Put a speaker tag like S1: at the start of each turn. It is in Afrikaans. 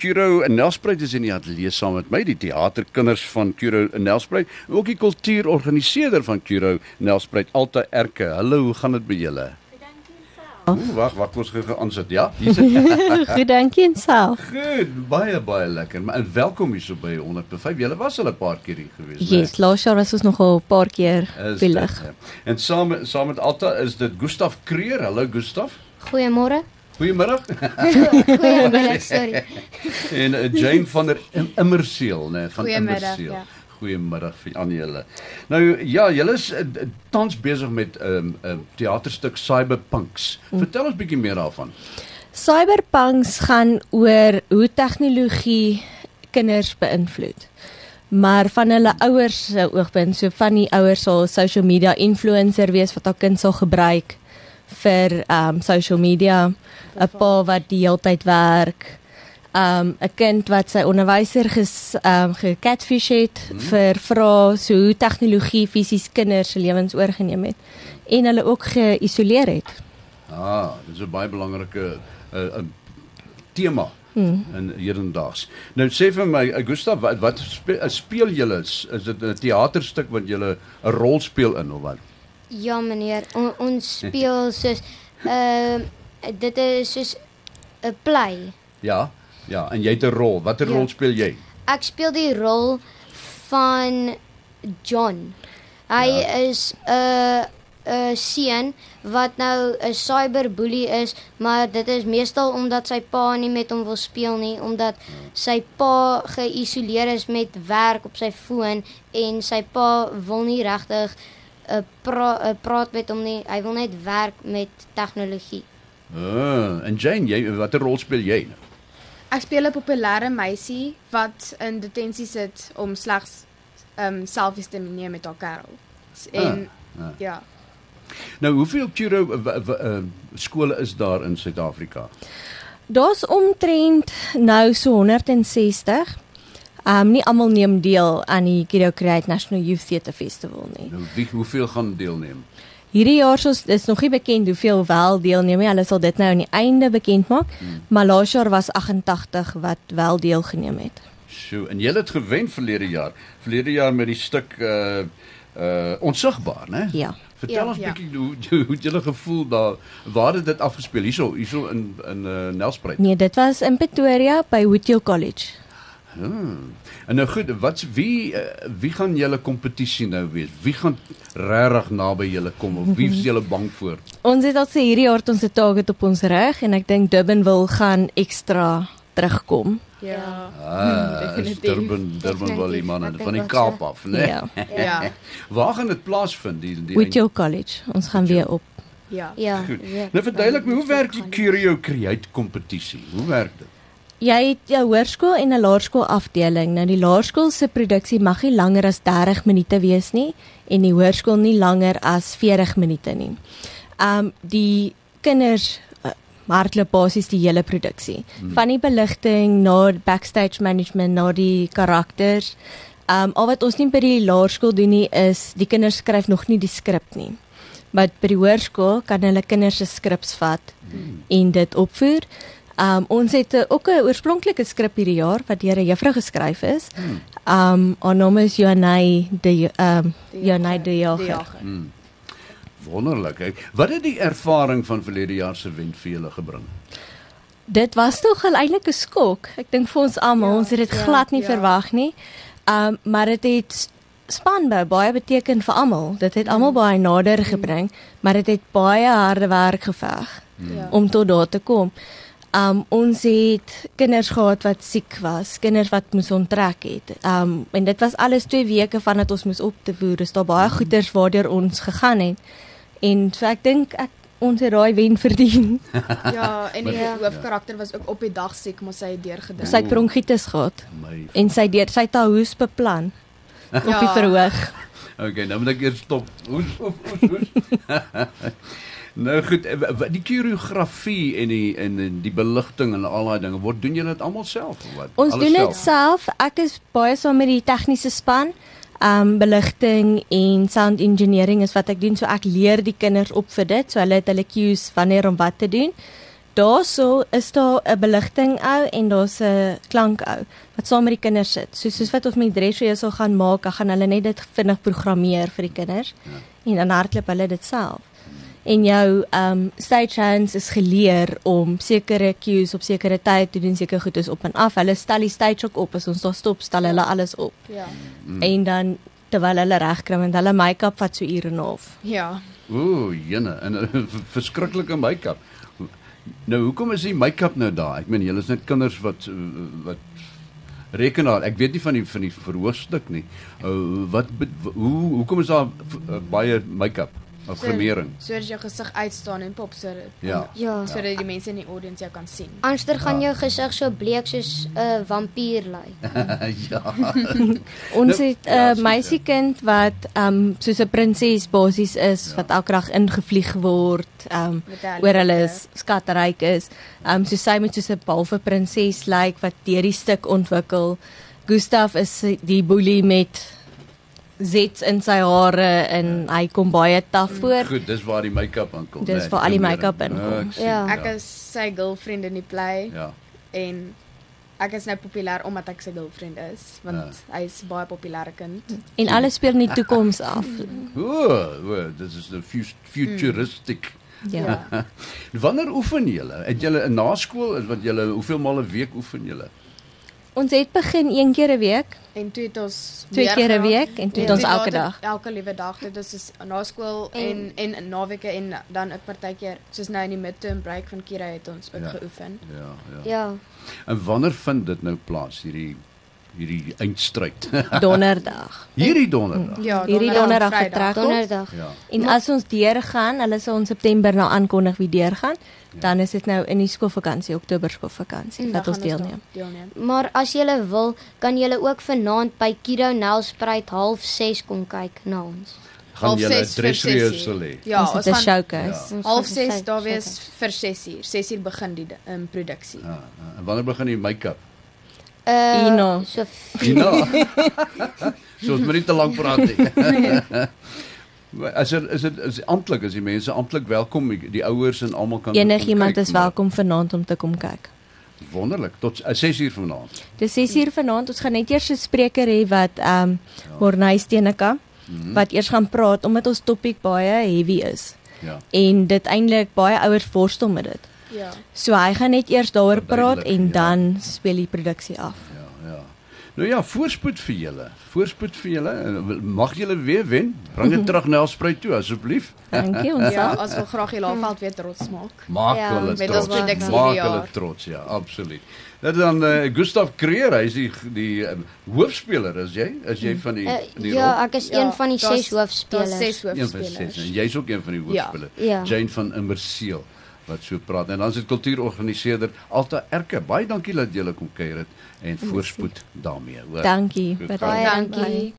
S1: Kuro en Nelspruit is in die ateljee saam met my, die teaterkinders van Kuro en Nelspruit, en ook die kultuurorganiseerder van Kuro Nelspruit, Alta Erke. Hallo, hoe gaan dit by julle? Ooh, wag, wag, kom ons gou aansit. Ja, hier sit.
S2: Goed, dankie en self.
S1: Goed, baie baie lekker. Maar en welkom hier so by 105. Julle was al 'n paar keer hier gewees, né?
S2: Yes, laas jaar was ons nogal 'n paar keer
S1: Is dit,
S2: belig.
S1: hè? En saam saam met Alta is dit Gustaf Kreer. Hallo Gustaf.
S3: Goeiemôre.
S1: Goeiemiddag.
S3: Goeiemôre, sorry.
S1: En eh, Jane van der Im- Immerseel, né, van
S3: Goeiemiddag,
S1: Immerseel.
S3: ja.
S1: Goeiemiddag vir aan julle. Nou ja, julle is eh, d- tans besig met 'n um, um, teaterstuk Cyberpunks.
S3: Hm.
S1: Vertel ons bietjie meer daarvan.
S2: Cyberpunks gaan oor hoe tegnologie kinders beïnvloed. Maar van hulle ouers se oogpunt, so van die ouers sal 'n social media influencer wees wat haar kind sal gebruik vir um social media, 'n pa wat die heeltyd werk. Um 'n kind wat sy onderwyser ges um gecatfish het vir vrae so hoe tegnologie fisies kinders se lewens oorgeneem het en hulle ook geïsoleer het.
S1: Ah, dis 'n baie belangrike 'n uh, 'n tema
S3: Hm.
S1: hmm. in hedendaags. Nou sê vir my, eh, Gustaf, wat wat speel, speel julle? Is is dit 'n teaterstuk wat julle 'n rol speel in of wat?
S3: Ja meneer, on, ons speel soos ehm dit is soos 'n play.
S1: Ja. Ja, en jy het 'n rol. Watter
S3: Ja.
S1: rol speel jy?
S3: Ek speel die rol van John. Hy
S1: Ja.
S3: is 'n 'n seun wat nou 'n cyberboelie is, maar dit is meestal omdat sy pa nie met hom wil speel nie, omdat
S1: Ja.
S3: sy pa geïsoleer is met werk op sy foon en sy pa wil nie regtig 'n pra, 'n praat met hom nie. Hy wil net werk met tegnologie.
S1: Ah, en Jane, jy watter rol speel jy? Nou?
S4: Ek speel 'n populêre meisie wat in detensie sit om slegs ehm um, selfies te neem met haar kerel. S- En
S1: Ah, ah.
S4: ah, ja,
S1: Nou, hoeveel Kuro w- w- uh, skole is daar in Suid-Afrika?
S2: Daar's omtrent nou so 160. Um nie almal neem deel aan die Kido Create National Youth Theatre Festival nie.
S1: Nou, wie hoeveel gaan deelneem?
S2: Hierdie jaar is is nog nie bekend hoeveel wel deelneem nie. Hulle sal dit nou aan die einde bekend maak, hmm. maar laas jaar was 88 wat wel deelgeneem het.
S1: So, en jy het gewen verlede jaar. Verlede jaar met die stuk uh uh onsigbaar, né?
S2: Ja.
S1: Vertel
S4: Ja,
S1: ons
S4: ja.
S1: bietjie hoe hoe- hoe het julle gevoel daar waar het dit afgespeel? Hierso, hierso in in uh, Nelspruit.
S2: Nee, dit was in Pretoria by Whitfield College.
S1: Hmm. En nou goed, wat wie uh, wie gaan julle kompetisie nou wees? Wie gaan regtig naby julle kom of wie is julle bang voor?
S2: Ons het al sê hierdie jaar het ons 'n target op ons rug en ek dink Durban wil gaan ekstra terugkom.
S4: ja,
S1: Ah,
S4: Hmm,
S1: is
S4: definitief.
S1: Durban Durban wel die manne
S3: Ek
S1: van die
S3: dink wel so.
S1: Kaap af, né?
S2: Nee. Ja.
S4: ja,
S1: Waar gaan dit plaasvind die die
S2: Whitfield College. Ons gaan weer op
S4: ja.
S3: Ja.
S1: Goed.
S3: ja.
S1: Nou verduidelik my, hoe werk die Curio Create kompetisie? Hoe werk dit?
S2: Jy het jou hoërskool en 'n laerskool afdeling. Nou die laerskool se produksie mag nie langer as 30 minute wees nie en die hoërskool nie langer as 40 minute nie. Um die kinders eh, hardloop basies die hele produksie. Hmm. Van die beligting na backstage management na die karakters. Um al wat ons nie by die laerskool doen nie is die kinders skryf nog nie die skrip nie. Maar by die hoërskool kan hulle kinders se skrips vat hmm. en dit opvoer. Um ons het eh, ook 'n oorspronklike skrip hierdie jaar wat deur 'n juffrou geskryf is. Um haar naam is Janay de um Janay de Jager.
S1: Wonderlik. Ek. Wat het die ervaring van verlede jaar se wen vir julle gebring?
S2: Dit was tog al eintlik 'n skok. Ek dink vir ons almal,
S4: Ja,
S2: ons het dit
S4: ja,
S2: glad nie
S4: ja.
S2: verwag nie. Um maar dit het s- spanbou baie beteken vir almal. Dit het almal baie nader gebring, maar dit het baie harde werk geveg.
S4: Ja.
S2: om tot daar te kom. Um ons het kinders gehad wat siek was, kinders wat moes onttrek het. Um en dit was alles 2 weke vandat ons moes op te voer. Dis daar baie goeders waardeur ons gegaan het. En so ek dink ek ons het daai wen verdien.
S4: Ja, en die
S3: Ja.
S4: ja. hoofkarakter was ook op die dag siek, maar sy het deurgedink.
S2: Sy het bronkietes gehad
S1: My.
S2: en sy deur sy het haar hoes beplan op die verhoog.
S1: Okay, nou moet ek eers stop. Hoes, hoes, hoes, hoes. nou goed, eh, wa- wa- die koreografie en die en en die beligting en al daai dinge, word doen julle dit almal self of wat?
S2: Ons
S1: Alles
S2: doen dit self. Ek is baie saam met die tegniese span. Um beligting en sound engineering is wat ek doen. So ek leer die kinders op vir dit. So hulle het hulle cues wanneer om wat te doen. daarso is daar 'n beligting ou en daar's 'n klank ou wat saam met die kinders sit. So soos wat ons met Dresho sou gaan maak, dan gaan hulle net dit vinnig programmeer vir die kinders en dan hardloop hulle dit self. En jou um stagehands is geleer om sekere cues op sekere tyd te doen, sekere goedes op en af. Hulle stel die stage ook op as ons daar stop, stel hulle alles op.
S4: Ja.
S2: Mm. En dan terwyl hulle regkry want hulle make-up vat so ure en 'n half.
S4: Ja.
S1: Ooh, jene, en 'n verskriklike make-up. Nou hoekom is die make-up nou daar? Ek meen julle is net kinders wat eh, wat rekenaar. Ek weet nie van die van die verhoogstuk nie. Uh, wat be- hoe hoekom is daar eh, baie make-up of grimering?
S4: Sodat jou gesig uitstaan en pop sodat
S1: Ja.
S3: Ja.
S4: sodat die mense in die audience jou kan sien.
S3: Anders gaan jou gesig so bleek soos 'n vampier lyk.
S1: ja.
S2: Ons
S1: Nou,
S2: het 'n
S1: ja,
S2: uh,
S1: sien,
S2: meisiekind wat ehm um, soos 'n prinses basies is ja. wat elke dag ingevlieg word, ehm um,
S4: Met haar
S2: oor hulle
S4: liefde.
S2: is skatryk is. Ehm um, so sy moet soos 'n halfe prinses lyk like, wat deur die stuk ontwikkel. Gustaf is die boelie met zits in sy hare en
S1: Ja.
S2: hy kom baie taaf
S1: Mm.
S2: voor.
S1: Goed, dis waar die make-up aankom.
S2: Dis
S1: né?
S2: waar al die
S1: Grimering.
S2: make-up inkom.
S1: Ah, ek sien,
S3: Ja.
S4: Ek is sy girlfriend in die play
S1: Ja.
S4: en ek is nou populêr omdat ek sy girlfriend is, want
S1: Ja.
S4: hy is baie populêre kind.
S2: En alles speel in die toekoms af.
S1: Ooh, ooh, dis is 'n fus- futuristiek.
S2: Ja.
S1: Wanneer oefen julle? Het julle 'n naskool? Wat julle hoeveel maal 'n week oefen julle?
S2: Ons het begin een keer 'n week.
S4: En toe het ons
S2: Twee
S4: meer
S2: keer 'n
S4: geraak.
S2: week en toe het ons elke
S4: later-
S2: dag.
S4: Elke liewe dag, dit is soos na skool en en, en naweke en dan ook partykeer soos nou in die midterm break van Kira het ons ook
S1: Ja.
S4: ja. geoefen.
S1: Ja, ja.
S3: Ja.
S1: En wanneer vind dit nou plaas hierdie hierdie eindstryd?
S2: Donderdag.
S1: hierdie donderdag.
S4: Ja,
S2: Hierdie donderdag vertrek ons.
S3: Donderdag.
S1: Ja.
S2: En as ons deurgaan, hulle sal ons September nou aankondig wie deurgaan, ja. dan is dit nou in die skoolvakansie, Oktober
S4: Mm,
S2: skoolvakansie wat ons deelneem.
S4: Deelneem.
S3: Maar as jy wil, kan jy ook vanaand by Kido Nelspruit half 6 kom kyk na ons.
S1: Gaan
S4: Half
S1: julle
S4: ses vir
S1: 'n
S4: sessie.
S1: rehearsal hê?
S4: Ja,
S2: ons het 'n showcase.
S3: Ons
S4: Half
S3: gaan
S4: 6
S3: sy-
S4: daar
S3: sy
S4: wees
S3: kyk.
S4: vir 6uur. 6uur begin die um, produksie.
S1: Ja, en wanneer begin die make-up?
S3: Uh,
S2: Ina.
S3: So f-
S1: Gina. so ons moet nie te lank praat nie.
S4: Nee.
S1: Maar As dit is dit is amptelik as die mense amptelik welkom die, die ouers en almal kan
S2: Enigiemand
S1: kan kyk,
S2: is
S1: maar
S2: welkom vanaand om te kom kyk.
S1: Wonderlik tot eh, 6uur vanaand.
S2: Dis 6uur vanaand, ons gaan net eers 'n spreker hê wat ehm um, Morney Steeneka wat eers gaan praat omdat ons topik baie heavy is
S1: Ja.
S2: en dit eintlik baie ouers worstel met dit.
S4: Ja.
S2: So hy gaan net eers daaroor praat
S1: Verduidelik, ja.
S2: en dan speel die produksie af.
S1: Ja, ja. Nou ja, voorspoed vir julle. Voorspoed vir julle. En Mag julle weer wen. Bring dit terug na Elspruit toe asseblief.
S2: Dankie ons.
S4: Ja,
S2: Ja.
S4: ons wil graag die Laagveld weer trots maak.
S1: Maak
S3: Ja,
S1: hulle
S4: met
S1: trots.
S4: ons produksie
S1: Maak
S4: hierdie
S1: hulle
S4: jaar.
S1: trots, ja, absoluut. Dit dan uh, Gustav Kreer, hy's die die um, hoofspeler, is jy? Is jy van die,
S3: uh,
S1: die
S3: ja, ek is een van die
S4: daar's-
S3: 6
S4: daar's
S3: hoofspelers.
S4: Ses
S1: een
S4: Então,
S1: van ses.
S4: hoofspelers.
S1: En jy's ook een van die hoofspelers.
S3: Ja.
S1: Jane van Immerseel wat so praat. En dan is dit kultuurorganiseerder Alta Erke. Baie dankie dat julle kom kuier het en voorspoed daarmee. Hoor.
S2: Dankie.
S1: Goed,
S2: vir-
S3: Baie
S4: Dankie.
S3: dankie.